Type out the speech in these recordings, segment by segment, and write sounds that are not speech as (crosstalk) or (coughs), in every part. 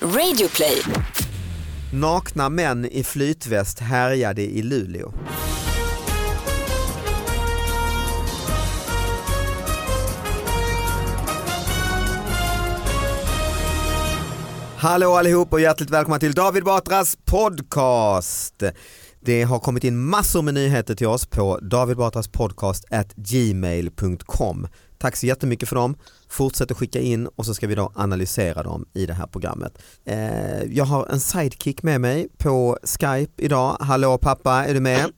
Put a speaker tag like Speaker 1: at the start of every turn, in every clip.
Speaker 1: Radioplay.
Speaker 2: Nakna män i flytväst härjade i Luleå. Hallå allihop och hjärtligt välkomna till David Batras podcast. Det har kommit in massor med nyheter till oss på davidbatraspodcast@gmail.com. Tack så jättemycket för dem. Fortsätt att skicka in och så ska vi då analysera dem i det här programmet. Eh, jag har en sidekick med mig på Skype idag. Hallå pappa, är du med?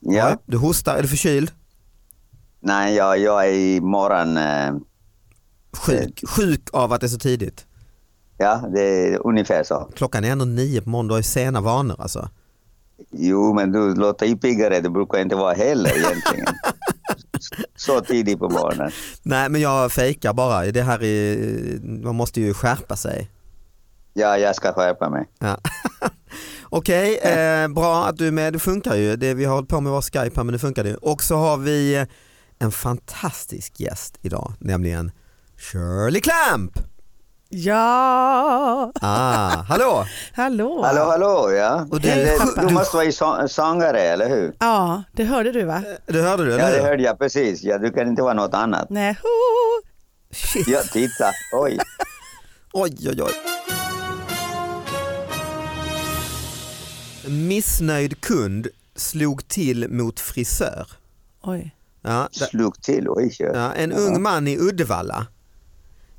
Speaker 3: Ja.
Speaker 2: Du hostar, är du förkyld?
Speaker 3: Nej, jag, jag är i morgon. eh,
Speaker 2: Sjuk, sjuk av att det är så tidigt.
Speaker 3: Ja, det är ungefär så.
Speaker 2: Klockan är ändå nio på måndag, det är sena vanor alltså.
Speaker 3: Jo, men du låter ju piggare. Det brukar inte vara heller
Speaker 2: (laughs)
Speaker 3: egentligen. så tidigt på morgonen.
Speaker 2: Nej men jag fejkar bara, det här är, man måste ju skärpa sig.
Speaker 3: Ja, jag ska skärpa mig.
Speaker 2: Ja. Okej, eh, bra att du är med, det funkar ju. Det, vi har hållit på med vår Skype här men det funkar ju. Och så har vi eh, en fantastisk gäst idag, nämligen Shirley Clamp!
Speaker 4: Ja,
Speaker 2: Ah, (laughs) hallå!
Speaker 4: hallå.
Speaker 3: Hallå, hallå, ja.
Speaker 2: Och det är
Speaker 3: Men
Speaker 2: pappa.
Speaker 3: du,
Speaker 2: Du-
Speaker 3: du måste vara i så- sångare, eller hur?
Speaker 4: Ja, det hörde du va?
Speaker 2: Det hörde du
Speaker 3: Ja,
Speaker 2: eller
Speaker 3: det
Speaker 2: hur?
Speaker 3: hörde jag precis. Ja, du kan inte vara något annat.
Speaker 4: Nej, ho.
Speaker 2: Shit.
Speaker 3: Ja, titta.
Speaker 2: (laughs)
Speaker 3: Oj.
Speaker 2: Oj, oj, oj. En Missnöjd kund slog till mot frisör.
Speaker 4: Oj.
Speaker 2: Ja, där-
Speaker 3: Slog till. Oj.
Speaker 2: Ja, en ung man i Uddevalla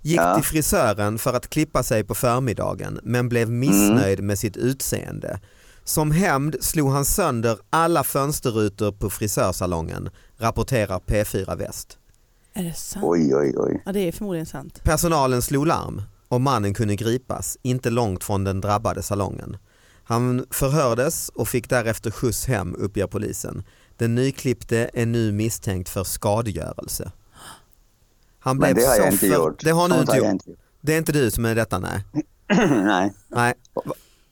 Speaker 2: gick
Speaker 3: Ja.
Speaker 2: till frisören för att klippa sig på förmiddagen men blev missnöjd med sitt utseende. Som hämnd slog han sönder alla fönsterrutor på frisörsalongen, rapporterar P4 Väst.
Speaker 4: Är det sant?
Speaker 3: Oj, oj, oj.
Speaker 4: Ja, det är förmodligen sant.
Speaker 2: Personalen slog larm och mannen kunde gripas, inte långt från den drabbade salongen. Han förhördes och fick därefter skjuts hem, uppger polisen. Den nyklippte är nu misstänkt för skadegörelse. Han
Speaker 3: Men
Speaker 2: blev
Speaker 3: det har
Speaker 2: så
Speaker 3: jag inte
Speaker 2: för-
Speaker 3: gjort.
Speaker 2: Det har du
Speaker 3: Sånt
Speaker 2: inte
Speaker 3: jag
Speaker 2: gjort. Det är inte du som är detta, nej.
Speaker 3: (clears throat) Nej.
Speaker 2: nej. Va,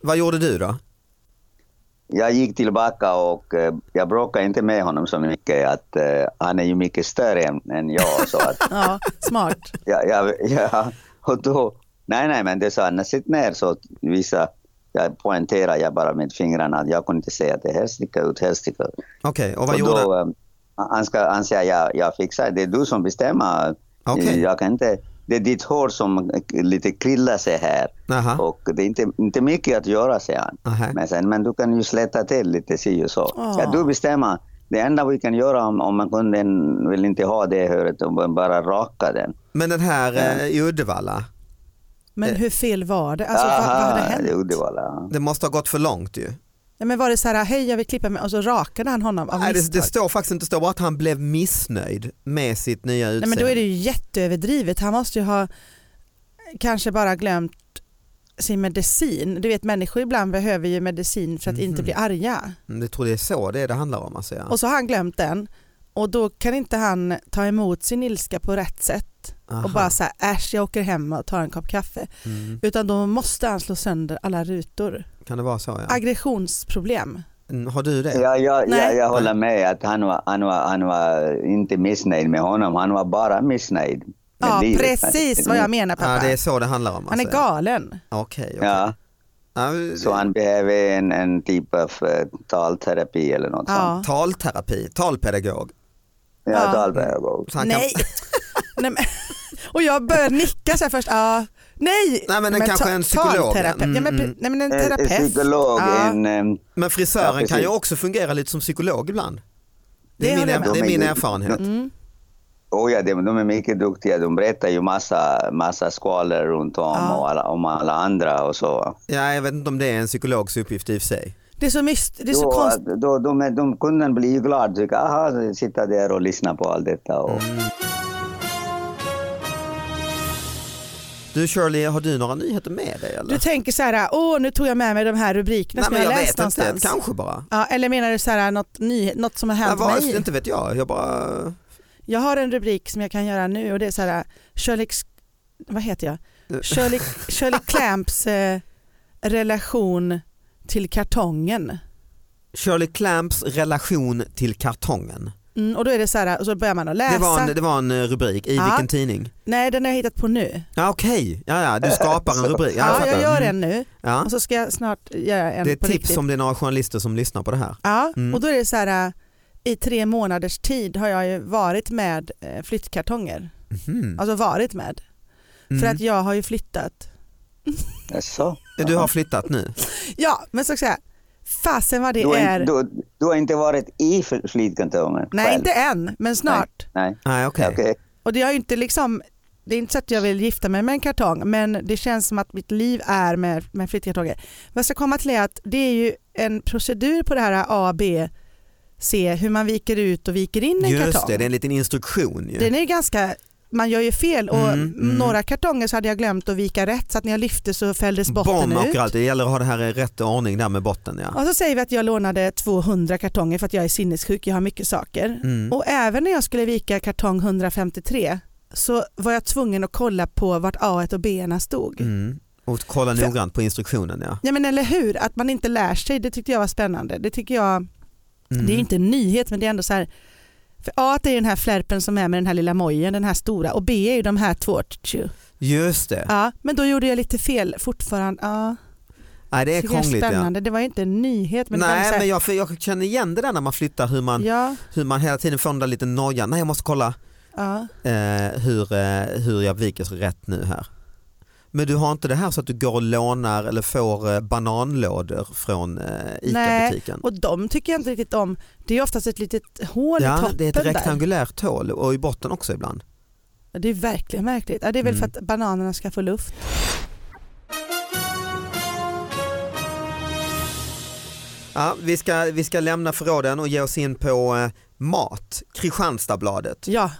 Speaker 2: vad gjorde du då?
Speaker 3: jag gick tillbaka och eh, jag bråkade inte med honom så mycket. Att, eh, han är ju mycket större än, än jag.
Speaker 2: (laughs)
Speaker 3: Så att,
Speaker 4: Ja, smart.
Speaker 3: jag, jag, jag, och då, nej, nej, men det sa han, sitt ner. Så visa, jag poängterade jag bara med fingrarna att jag kunde inte säga att det här sticker ut, här sticker ut.
Speaker 2: Okej, och vad
Speaker 3: och
Speaker 2: gjorde
Speaker 3: då, eh, han, ska, han säger, jag, jag fixar det. det, är du som bestämmer.
Speaker 2: Okej.
Speaker 3: Jag kan inte, det är ditt hår som lite krillar sig här.
Speaker 2: Aha.
Speaker 3: Och det är inte, inte mycket att göra, säger han.
Speaker 2: Aha.
Speaker 3: Men, sen, men du kan ju släta till lite si och så.
Speaker 4: Ah.
Speaker 3: Ja, du bestämmer. Det enda vi kan göra om, om man kunden vill inte ha det höret, om bara raka den.
Speaker 2: Men den här eh, i Uddevalla, Eh.
Speaker 4: Men hur fel var det? Alltså, vad, vad hade hänt?
Speaker 3: Det är Uddevalla.
Speaker 2: det måste ha gått för långt ju.
Speaker 4: Ja, men var det så här, hej jag vill klippa mig och så rakade han honom av
Speaker 2: Nej, det, det
Speaker 4: misstag?
Speaker 2: står faktiskt inte, det står bara att han blev missnöjd med sitt nya utseende.
Speaker 4: Nej, men då är det ju jätteöverdrivet. Han måste ju ha kanske bara glömt sin medicin. Du vet människor ibland behöver ju medicin för att inte bli arga.
Speaker 2: Mm, Jag tror det är så det, är det handlar om. Alltså, ja.
Speaker 4: Och så har han glömt den och då kan inte han ta emot sin ilska på rätt sätt
Speaker 2: Aha.
Speaker 4: och bara säga äsch jag åker hem och tar en kopp kaffe.
Speaker 2: Mm,
Speaker 4: Utan då måste han slå sönder alla rutor.
Speaker 2: kan det vara så? Ja.
Speaker 4: Aggressionsproblem.
Speaker 2: Mm, Har du det?
Speaker 3: Ja, jag, jag,
Speaker 4: Nej.
Speaker 3: jag håller med att han var, han, var, han var inte missnöjd med honom. Han var bara missnöjd. med
Speaker 4: Ja
Speaker 3: livet.
Speaker 4: precis vad jag menar
Speaker 2: Mm. Ja,
Speaker 4: pappa.
Speaker 2: det är så det handlar om.
Speaker 4: Han är
Speaker 2: alltså,
Speaker 4: galen.
Speaker 2: Ja. Okej, okej.
Speaker 3: Ja,
Speaker 2: Ja,
Speaker 3: så han behöver en, en typ av eh, talterapi eller något sånt.
Speaker 4: Ja.
Speaker 2: eh, Talterapi, talpedagog.
Speaker 3: Ja,
Speaker 4: Ja.
Speaker 3: talpedagog.
Speaker 2: Så han kan-
Speaker 4: Nej. (laughs) Nej men, (laughs) och jag börjar nicka så här först. Ja. Nej.
Speaker 2: Nej, men kanske en psykolog, ja.
Speaker 4: talterapeut. Ja, men,
Speaker 2: Mm, mm.
Speaker 4: pre- nej men en
Speaker 3: En, en
Speaker 4: terapeut.
Speaker 3: psykolog,
Speaker 4: Ja.
Speaker 3: en... ehm,
Speaker 2: Men
Speaker 3: Ja,
Speaker 2: frisören
Speaker 3: precis.
Speaker 2: kan ju också fungera lite som psykolog ibland. Det är,
Speaker 4: Det
Speaker 2: min,
Speaker 4: håller jag Mm.
Speaker 2: det är
Speaker 3: med.
Speaker 2: min
Speaker 3: De är-
Speaker 2: erfarenhet.
Speaker 3: Oh ja, de, de är mycket duktiga. De berättar ju massa, massa skvaller runt om,
Speaker 4: Ja.
Speaker 3: och alla, om alla andra och så.
Speaker 2: Ja, jag vet inte om det är en psykologs uppgift i och för sig.
Speaker 4: Det är så, myst, det är så
Speaker 3: då,
Speaker 4: konstigt.
Speaker 3: då, de, är- de, kunden blir ju glad. Tycker, aha, sitta där och lyssna på allt detta. Och,
Speaker 2: Du Shirley, har du några nyheter med dig eller?
Speaker 4: Du tänker så här, åh nu tog jag med mig de här rubrikerna
Speaker 2: Nej,
Speaker 4: som
Speaker 2: men
Speaker 4: jag,
Speaker 2: jag
Speaker 4: läst
Speaker 2: vet
Speaker 4: någonstans.
Speaker 2: inte, kanske bara.
Speaker 4: Ja, eller menar du så här, något, ny, något som har
Speaker 2: Jag
Speaker 4: hänt
Speaker 2: var,
Speaker 4: mig?
Speaker 2: inte vet jag, jag bara...
Speaker 4: Jag har en rubrik som jag kan göra nu och det är så här, Shirley, vad heter jag? Shirley,
Speaker 2: (laughs)
Speaker 4: Shirley Clamps eh, relation till kartongen.
Speaker 2: Shirley Clamps relation till kartongen.
Speaker 4: Mm, och då är det så här, och så börjar man att läsa.
Speaker 2: Det var, en, det var en eh, rubrik, i
Speaker 4: Ja.
Speaker 2: vilken tidning?
Speaker 4: Nej, den har jag hittat på nu.
Speaker 2: Ja, Okej, ja, ja, du skapar en rubrik. Ja, jag
Speaker 4: Ja,
Speaker 2: fattar.
Speaker 4: jag gör
Speaker 2: Mm.
Speaker 4: en nu
Speaker 2: Ja.
Speaker 4: och så ska jag snart göra en
Speaker 2: Det är
Speaker 4: på
Speaker 2: ett tips
Speaker 4: riktigt.
Speaker 2: om det är några journalister som lyssnar på det här.
Speaker 4: Ja,
Speaker 2: Mm.
Speaker 4: och då är det så här, äh, i tre månaders tid har jag ju varit med eh, flyttkartonger.
Speaker 2: Mhm.
Speaker 4: Alltså varit med. För
Speaker 2: Mm.
Speaker 4: att jag har ju flyttat.
Speaker 3: Så.
Speaker 2: Du har flyttat nu?
Speaker 4: Ja, men så ska jag säga, fasen vad det
Speaker 3: du, har
Speaker 4: är.
Speaker 3: inte, du, du har inte varit i fl- flygkantongen
Speaker 4: Nej,
Speaker 3: själv.
Speaker 4: inte än, men snart.
Speaker 3: Nej,
Speaker 2: Nej okej.
Speaker 3: okej.
Speaker 4: Och det har ju inte liksom det är inte så att jag vill gifta mig med en kartong men det känns som att mitt liv är med, med flyttkartonger. Vad jag ska komma till är att det är ju en procedur på det här A, B, C hur man viker ut och viker in en
Speaker 2: Just
Speaker 4: kartong.
Speaker 2: det, det är en liten instruktion ju.
Speaker 4: Den är ju ganska, man gör ju fel och
Speaker 2: Mm, mm.
Speaker 4: några kartonger så hade jag glömt att vika rätt så att när jag lyfte så fälldes botten
Speaker 2: Bomb
Speaker 4: ut.
Speaker 2: och allt, det gäller att ha det här i rätt ordning där med botten ja.
Speaker 4: Och så säger vi att jag lånade 200 kartonger för att jag är sinnessjuk, jag har mycket saker.
Speaker 2: Mm.
Speaker 4: Och även när jag skulle vika kartong 153 så var jag tvungen att kolla på vart A och B stod.
Speaker 2: Mm. Och kolla noggrant på instruktionen ja.
Speaker 4: Ja men eller hur, att man inte lär sig det tyckte jag var spännande. Det tycker jag,
Speaker 2: Mm.
Speaker 4: det är inte en nyhet men det är ändå så här, för A är ju den här flärpen som är med den här lilla mojen, den här stora och B är ju de här två.
Speaker 2: Just det,
Speaker 4: Ja, men då gjorde jag lite fel fortfarande. Ja,
Speaker 2: Nej, det är
Speaker 4: tycker jag
Speaker 2: krångligt ja.
Speaker 4: spännande. Det var ju inte en nyhet men det var ändå
Speaker 2: Nej
Speaker 4: så här,
Speaker 2: men jag, för jag känner igen det där när man flyttar hur man,
Speaker 4: ja,
Speaker 2: hur man hela tiden får den där lite nojan. Nej jag måste kolla
Speaker 4: ja.
Speaker 2: eh, hur, eh, hur jag viker så rätt nu här. Men du har inte det här så att du går och lånar eller får eh, bananlådor från eh, ICA-butiken?
Speaker 4: Och de tycker jag inte riktigt om. Det är oftast ett litet hål i
Speaker 2: Ja,
Speaker 4: toppen
Speaker 2: det är ett
Speaker 4: där.
Speaker 2: rektangulärt hål och i botten också ibland.
Speaker 4: Ja, Det är verkligen märkligt. Ja, det är väl
Speaker 2: Mm.
Speaker 4: för att bananerna ska få luft.
Speaker 2: Ja, vi, ska, vi ska lämna förråden och ge oss in på eh, mat. Kristianstadsbladet.
Speaker 4: Ja,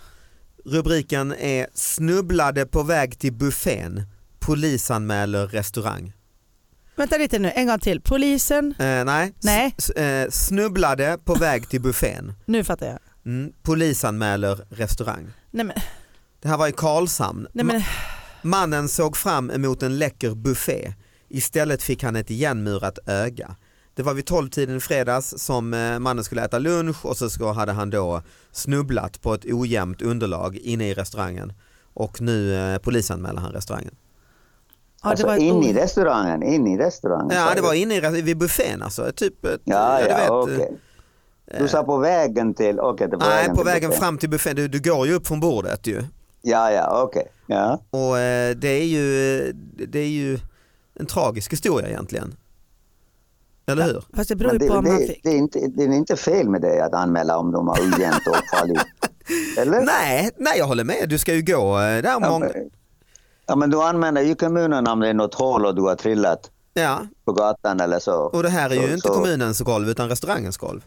Speaker 2: Rubriken är snubblade på väg till buffén. Polisanmäler restaurang.
Speaker 4: vänta lite nu, en gång till. Polisen,
Speaker 2: Eh, nej, S-
Speaker 4: Nej.
Speaker 2: S- eh, snubblade på väg till buffén.
Speaker 4: nu fattar jag.
Speaker 2: Mm. Polisanmäler restaurang.
Speaker 4: Nej men,
Speaker 2: Det här var i Karlshamn.
Speaker 4: nej, men
Speaker 2: Mannen såg fram emot en läcker buffé. Istället fick han ett igenmurat öga. Det var vid 12-tiden i fredags som eh, mannen skulle äta lunch och så ska- hade han då snubblat på ett ojämnt underlag inne i restaurangen. Och nu eh, polisanmäler han restaurangen.
Speaker 4: ja, det
Speaker 3: alltså,
Speaker 4: var ett
Speaker 3: in
Speaker 4: ord.
Speaker 3: i restaurangen, in i restaurangen.
Speaker 2: Ja
Speaker 3: sa
Speaker 2: det
Speaker 3: du.
Speaker 2: var inne i, res- vid buffén alltså. Typ, ett,
Speaker 3: Ja,
Speaker 2: du
Speaker 3: ja,
Speaker 2: vet, eh,
Speaker 3: okej. Du sa på vägen till... Okej, det var
Speaker 2: Nej på
Speaker 3: till
Speaker 2: vägen
Speaker 3: buffén.
Speaker 2: fram till buffén. Du, du går ju upp från bordet ju.
Speaker 3: Ja, ja, okej. Ja.
Speaker 2: Och eh, det är ju, det är ju en tragisk historia egentligen. Eller hur?
Speaker 4: Fast det beror
Speaker 3: Men
Speaker 4: ju på om
Speaker 3: det,
Speaker 4: han
Speaker 3: det,
Speaker 4: fick.
Speaker 3: det, är inte, det är inte fel med dig att anmäla om de har ojämnt åkfall. i.
Speaker 2: (laughs)
Speaker 3: Eller?
Speaker 2: Nej, nej jag håller med. Du ska ju gå eh, där
Speaker 3: Ja,
Speaker 2: många...
Speaker 3: men- Ja, men du anmäler ju kommunen om det är något hål och du har trillat
Speaker 2: Ja,
Speaker 3: på gatan eller så.
Speaker 2: och det här är ju
Speaker 3: så,
Speaker 2: inte
Speaker 3: så-
Speaker 2: kommunens golv utan restaurangens golv.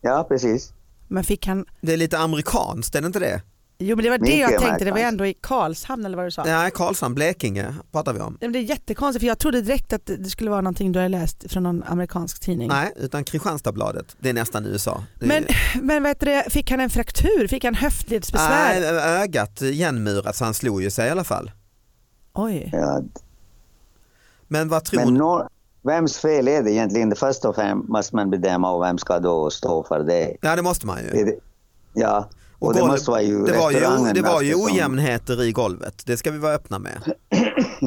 Speaker 3: Ja, precis.
Speaker 4: Men fick han,
Speaker 2: Det är lite amerikanskt, är det inte det?
Speaker 4: jo men det var det
Speaker 3: Mycket
Speaker 4: jag tänkte, det var ju
Speaker 3: märkligt.
Speaker 4: ändå i Karlshamn eller vad du sa. Nej,
Speaker 2: Nej, Karlshamn, Blekinge pratar vi om.
Speaker 4: men Det är jättekonstigt för jag trodde direkt att det skulle vara någonting du hade läst från någon amerikansk tidning.
Speaker 2: Nej, utan Kristianstadsbladet. Det är nästan USA. Det är
Speaker 4: Men,
Speaker 2: ju-
Speaker 4: men vad heter det, fick han en fraktur? Fick han höftledsbesvär?
Speaker 2: Nej, ögat igenmurat så han slog ju sig i alla fall.
Speaker 4: Oj.
Speaker 3: Ja.
Speaker 2: Men vad tror
Speaker 3: Men
Speaker 2: du?
Speaker 3: nå- vems fel är det egentligen? Först och främst måste man bedöma och vem ska då stå för det.
Speaker 2: Ja det måste man ju.
Speaker 3: Är det- Ja, och, det
Speaker 2: golv-
Speaker 3: måste vara ju
Speaker 2: det var ju,
Speaker 3: restaurangen
Speaker 2: det var ju
Speaker 3: eftersom-
Speaker 2: ojämnheter i golvet, det ska vi vara öppna
Speaker 3: (coughs)
Speaker 2: med.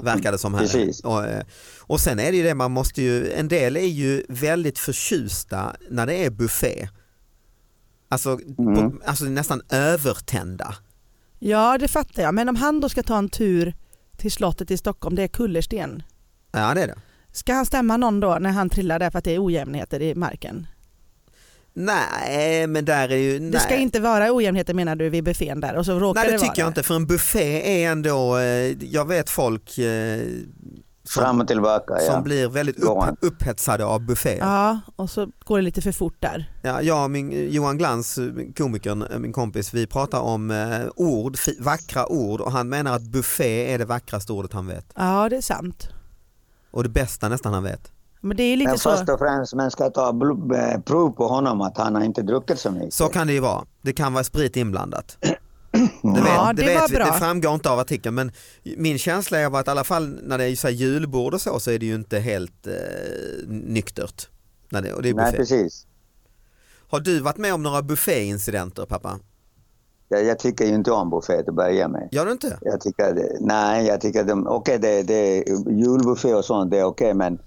Speaker 2: Verkar det som här.
Speaker 3: Precis.
Speaker 2: Och, eh, och sen är det ju det, man måste ju, en del är ju väldigt förtjusta när det är buffé. Alltså, på,
Speaker 3: Mm.
Speaker 2: alltså nästan övertända.
Speaker 4: Ja det fattar jag, men om han då ska ta en tur till slottet i Stockholm, det är kullersten.
Speaker 2: Ja det är det.
Speaker 4: Ska han stämma någon då när han trillar därför att det är ojämnheter i marken?
Speaker 2: Nej men där är ju... Nej.
Speaker 4: Det ska inte vara ojämnheter menar du vid buffén där och så råkar
Speaker 2: Nej det
Speaker 4: det vara
Speaker 2: tycker jag inte för en buffé är ändå, eh, jag vet folk eh, som,
Speaker 3: Fram och tillbaka, ja.
Speaker 2: som blir väldigt upp,
Speaker 3: Gående.
Speaker 2: upphetsade av bufféer.
Speaker 4: Ja, och så går det lite för fort där.
Speaker 2: Ja, jag och min, Johan Glans, komikern, eh, min kompis, vi pratar om eh, ord, fi- vackra ord och han menar att buffé är det vackraste ordet han vet.
Speaker 4: Ja, det är sant.
Speaker 2: Och det bästa nästan han vet.
Speaker 4: Men det är lite
Speaker 3: Men
Speaker 4: så.
Speaker 3: först och främst, man ska ta bl- eh, prov på honom att han har inte druckit så mycket.
Speaker 2: Så kan det ju vara. Det kan vara sprit inblandat. Det, vet,
Speaker 4: Ja, det var
Speaker 2: vet vi,
Speaker 4: bra.
Speaker 2: det framgår inte av artikeln men min känsla är att i alla fall när det är så här julbord och så så är det ju inte helt eh, nyktert. När det, och det är
Speaker 3: Nej,
Speaker 2: buffé.
Speaker 3: precis.
Speaker 2: Har du varit med om några bufféincidenter pappa?
Speaker 3: Jag, jag tycker ju inte om buffé till att börja med.
Speaker 2: Gör du inte?
Speaker 3: Jag tycker, det- nej, jag tycker de, okej det, det julbuffé och sånt, det är okej men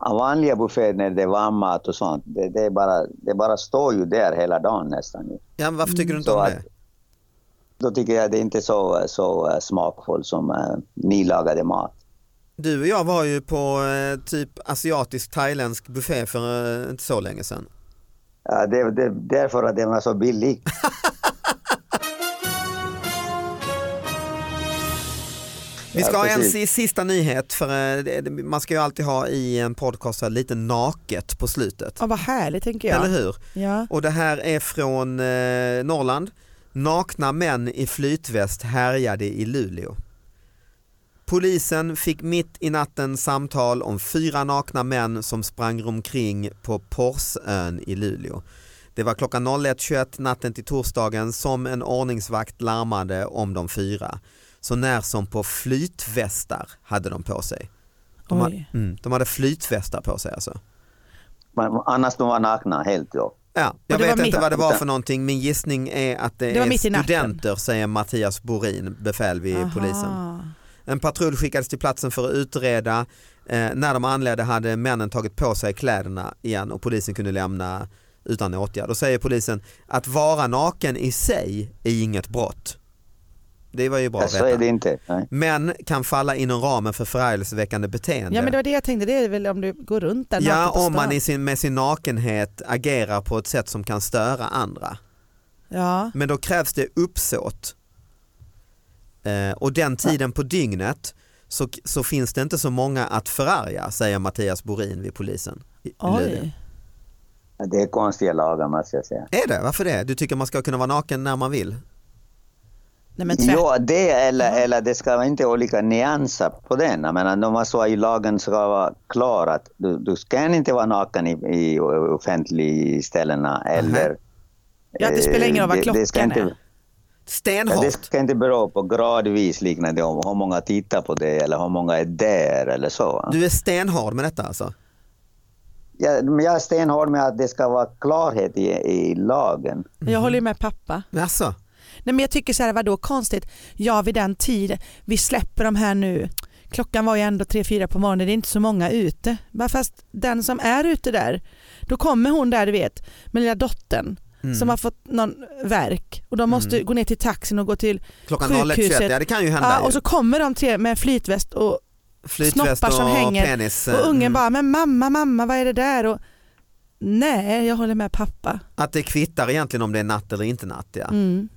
Speaker 3: vanliga bufféer när det är varm mat och sånt, det, det, är bara, det bara står ju där hela dagen nästan. ju.
Speaker 2: Ja, men varför tycker du inte
Speaker 3: Mm, Så
Speaker 2: om
Speaker 3: att-
Speaker 2: det?
Speaker 3: Då tycker jag det är inte så, så eh, smakfullt som eh, nylagade mat.
Speaker 2: Du och jag var ju på eh, typ asiatisk thailändsk buffé för eh, inte så länge sedan.
Speaker 3: Ja, det, det, därför att den var så billig.
Speaker 2: Vi ska
Speaker 3: Ja,
Speaker 2: ha en
Speaker 3: precis.
Speaker 2: si- sista nyhet för eh, det- det- man ska ju alltid ha i en podcast så här lite naket på slutet.
Speaker 4: Ja, vad härligt tänker jag.
Speaker 2: Eller hur?
Speaker 4: Ja.
Speaker 2: Och det här är från eh, Norrland. Nakna män i flytväst härjade i Luleå. Polisen fick mitt i natten samtal om fyra nakna män som sprang omkring på Porsön i Luleå. Det var klockan 01.21 natten till torsdagen som en ordningsvakt larmade om de fyra. Så när som på flytvästar hade de på sig. De, ha,
Speaker 4: Oj.
Speaker 2: mm, de hade flytvästar på sig alltså.
Speaker 3: Men annars de var nakna helt då.
Speaker 2: Ja, jag
Speaker 4: det
Speaker 2: vet
Speaker 4: var
Speaker 2: inte
Speaker 4: mitt-
Speaker 2: vad det var för någonting. Min gissning är att det,
Speaker 4: Det var
Speaker 2: är
Speaker 4: mitt i natten.
Speaker 2: studenter säger Mattias Borin, befäl vid
Speaker 4: Aha.
Speaker 2: polisen. En patrull skickades till platsen för att utreda. Eh, när de anlände hade männen tagit på sig kläderna igen och polisen kunde lämna utan åtgärd. Då säger polisen att vara naken i sig är inget brott. Det var ju bra
Speaker 3: Ja,
Speaker 2: att
Speaker 3: så är
Speaker 2: veta.
Speaker 3: det inte. Nej.
Speaker 2: Men kan falla inom ramen för förargelseväckande beteende.
Speaker 4: Ja men det var det jag tänkte, det är väl om du går runt där
Speaker 2: Ja,
Speaker 4: naken på
Speaker 2: om man
Speaker 4: stan.
Speaker 2: i sin, med sin nakenhet agerar på ett sätt som kan störa andra.
Speaker 4: Ja,
Speaker 2: Men då krävs det uppsåt. Eh, och den tiden på dygnet så, så finns det inte så många att förarga säger Mattias Borin vid polisen. i Luleå.
Speaker 4: oj.
Speaker 3: Det är konstiga lagar måste jag säga.
Speaker 2: Är det? Varför det? Du tycker man ska kunna vara naken när man vill?
Speaker 4: Nej men tvärt.
Speaker 3: Ja, det eller, eller det ska vara inte olika nyanser på den. Jag menar, de måste vara i lagen ska vara klar att du, du ska inte vara naken i, i offentliga ställena eller...
Speaker 4: Ja, det spelar ingen roll vad
Speaker 3: Eh, det- det ska
Speaker 4: klockan
Speaker 3: inte-
Speaker 4: är.
Speaker 2: Stenhårt!
Speaker 3: Det ska inte bero på gradvis liknande om hur många tittar på det eller hur många är där eller så. va.
Speaker 2: Du är stenhård med detta alltså?
Speaker 3: Jag, men jag är stenhård med att det ska vara klarhet i, i lagen.
Speaker 4: Jag håller ju med pappa.
Speaker 2: Jaså?
Speaker 4: Nej men jag tycker så här, vadå konstigt? Ja vid den tiden, vi släpper dem här nu. Klockan var ju ändå tre fyra på morgonen, det är inte så många ute. Bara fast den som är ute där, då kommer hon där du vet, med lilla dottern
Speaker 2: Mm.
Speaker 4: som har fått någon verk och de måste gå ner till taxin och gå till
Speaker 2: Klockan
Speaker 4: sjukhuset.
Speaker 2: 01.21, ja det kan ju hända.
Speaker 4: ja,
Speaker 2: ju.
Speaker 4: och så kommer de tre med flytväst och
Speaker 2: Flytväst
Speaker 4: snoppar som
Speaker 2: och
Speaker 4: hänger
Speaker 2: penis. eh,
Speaker 4: Och ungen
Speaker 2: mm.
Speaker 4: bara, men mamma, mamma, vad är det där? Och, Nej, jag håller med pappa.
Speaker 2: Att det kvittar egentligen om det är natt eller inte natt ja.
Speaker 4: Mm.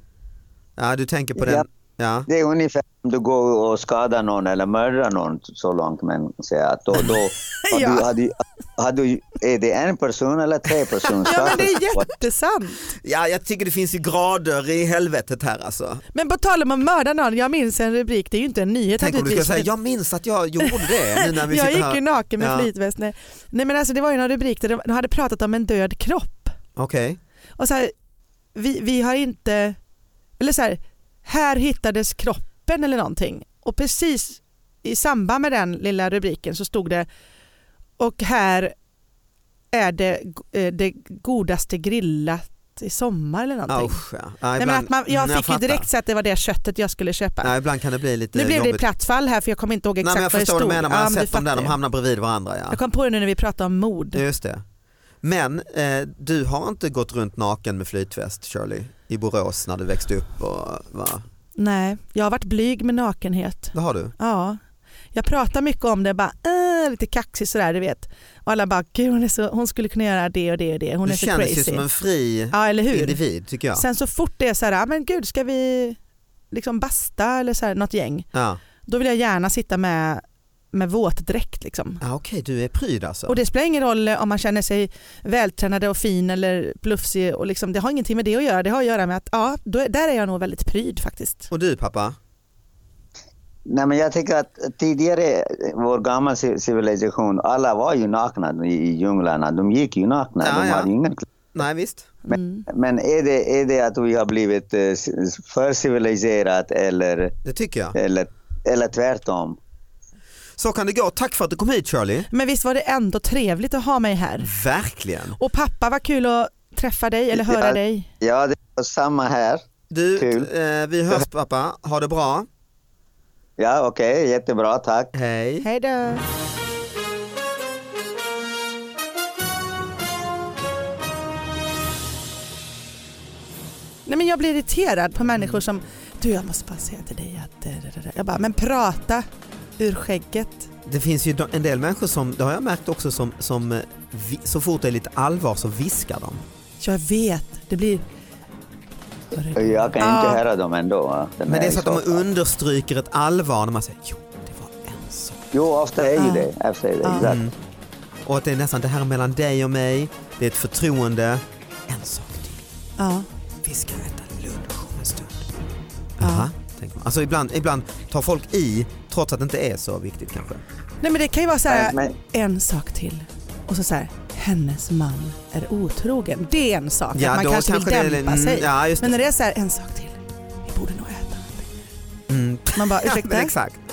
Speaker 2: ja du tänker på
Speaker 3: Ja.
Speaker 2: den. Ja.
Speaker 3: Det är ungefär om du går och skadar någon eller mördar någon så långt man säger att då, då har
Speaker 4: (laughs) Ja.
Speaker 3: du, har du, har du, är det en person eller tre personer?
Speaker 4: (laughs) Ja men det är
Speaker 2: (laughs)
Speaker 4: jättesant.
Speaker 2: ja jag tycker det finns ju grader i helvetet här alltså.
Speaker 4: Men på tal om att mörda någon, jag minns en rubrik, det är ju inte en nyhet
Speaker 2: Tänk om du ska
Speaker 4: naturligtvis,
Speaker 2: säga,
Speaker 4: men-
Speaker 2: jag minns att jag gjorde det nu när vi
Speaker 4: (laughs) jag
Speaker 2: sitter
Speaker 4: gick
Speaker 2: här.
Speaker 4: ju naken med
Speaker 2: Ja.
Speaker 4: flytväst. Nej. Nej men alltså det var ju någon rubrik där de de hade pratat om en död kropp.
Speaker 2: Okej,
Speaker 4: Och så här, vi, vi har inte, eller så här, här hittades kroppen eller någonting. Och precis i samband med den lilla rubriken så stod det, och här är det, eh, det godaste grillat i sommar eller någonting.
Speaker 2: okay. usch ja. ja
Speaker 4: Nej, men att man,
Speaker 2: Mm,
Speaker 4: jag fick ju direkt så att det var det köttet jag skulle köpa.
Speaker 2: Ja, ibland kan det bli lite
Speaker 4: Nu blev det
Speaker 2: eh, jobbigt.
Speaker 4: platt fall här för jag kommer inte ihåg
Speaker 2: Nej,
Speaker 4: exakt
Speaker 2: men jag
Speaker 4: vad det
Speaker 2: förstår
Speaker 4: stod.
Speaker 2: vad du menar, man
Speaker 4: Ja,
Speaker 2: har
Speaker 4: men du
Speaker 2: sett dem där,
Speaker 4: fattar
Speaker 2: de
Speaker 4: ju.
Speaker 2: hamnar bredvid varandra.
Speaker 4: Jag
Speaker 2: Ja.
Speaker 4: kom på det nu när vi pratade om mord.
Speaker 2: Just det. Men eh, du har inte gått runt naken med flytväst Shirley i Borås när du växte upp? Och, va?
Speaker 4: Nej, jag har varit blyg med nakenhet.
Speaker 2: Det har du?
Speaker 4: Ja. Jag pratar mycket om det, bara äh, lite kaxig sådär du vet. Och alla bara, gud hon, är så, hon skulle kunna göra det och det och det. Hon
Speaker 2: du
Speaker 4: är så
Speaker 2: känns
Speaker 4: crazy.
Speaker 2: ju som en fri
Speaker 4: ja, eller hur?
Speaker 2: individ tycker jag.
Speaker 4: Sen så fort det är så här, "Ah, men gud ska vi liksom basta eller så här, något gäng.
Speaker 2: Ja.
Speaker 4: Då vill jag gärna sitta med, med våtdräkt liksom.
Speaker 2: Ja, Okej, du är pryd alltså?
Speaker 4: Och det spelar ingen roll om man känner sig vältränad och fin eller plufsig. Och liksom, det har ingenting med det att göra. Det har att göra med att ja, då, är- där är jag nog väldigt pryd faktiskt.
Speaker 2: och du pappa?
Speaker 3: Nej, men jag tycker att tidigare, vår gamla ci- civilisation, alla var ju nakna i, i djunglarna. De gick ju nakna,
Speaker 2: Ja,
Speaker 3: de
Speaker 2: ja.
Speaker 3: hade ju ingen
Speaker 2: Nej visst?
Speaker 3: Men,
Speaker 4: Mm.
Speaker 3: men är, det, är det att vi har blivit eh, s- för civiliserat eller,
Speaker 2: Det tycker jag.
Speaker 3: eller, eller tvärtom?
Speaker 2: Så kan det gå. Tack för att du kom hit Shirley.
Speaker 4: Men visst var det ändå trevligt att ha mig här.
Speaker 2: Verkligen.
Speaker 4: Och pappa, vad kul att träffa dig eller höra
Speaker 3: Ja.
Speaker 4: dig.
Speaker 3: Ja, det var samma här.
Speaker 2: Du,
Speaker 3: Kul.
Speaker 2: eh, vi hörs pappa. Ha det bra.
Speaker 3: Ja, okej, jättebra, tack.
Speaker 2: Hej.
Speaker 4: Hej då! Nej men jag blir irriterad på människor som, du jag måste bara säga till dig att, eh, det, det, det." jag bara, men prata ur skägget.
Speaker 2: Det finns ju en del människor som, det har jag märkt också, som, som eh, vi, så fort det är lite allvar så viskar de.
Speaker 4: Jag vet, det blir...
Speaker 3: Jag kan
Speaker 4: Ja.
Speaker 3: inte höra dem ändå. va? Den
Speaker 2: Men det är
Speaker 3: här
Speaker 2: så att
Speaker 3: i
Speaker 2: de
Speaker 3: soffan.
Speaker 2: understryker ett allvar när man säger jo, det var en sak.
Speaker 3: Jo, ofta är ju
Speaker 4: Ja.
Speaker 3: det. Ofta är det,
Speaker 4: Ja.
Speaker 3: exakt.
Speaker 2: Mm. Och att det är nästan det här är mellan dig och mig, det är ett förtroende. En sak till,
Speaker 4: Ja,
Speaker 2: vi ska äta lunch om en stund. Jaha, tänker man. Alltså ibland, ibland tar folk i trots att det inte är så viktigt kanske.
Speaker 4: nej men det kan ju vara så här,
Speaker 3: Men, men,
Speaker 4: en sak till och så så här, hennes man är otrogen. Det är en sak,
Speaker 2: Ja,
Speaker 4: att man
Speaker 2: då
Speaker 4: kanske vill
Speaker 2: kanske det är-
Speaker 4: dämpa
Speaker 2: mm,
Speaker 4: sig.
Speaker 2: ja, just
Speaker 4: Men när det är så här, en sak till, vi borde nog äta någonting.
Speaker 2: Mm.
Speaker 4: Man
Speaker 2: (laughs)
Speaker 4: bara,
Speaker 2: Ja,
Speaker 4: ursäkta?
Speaker 2: men exakt.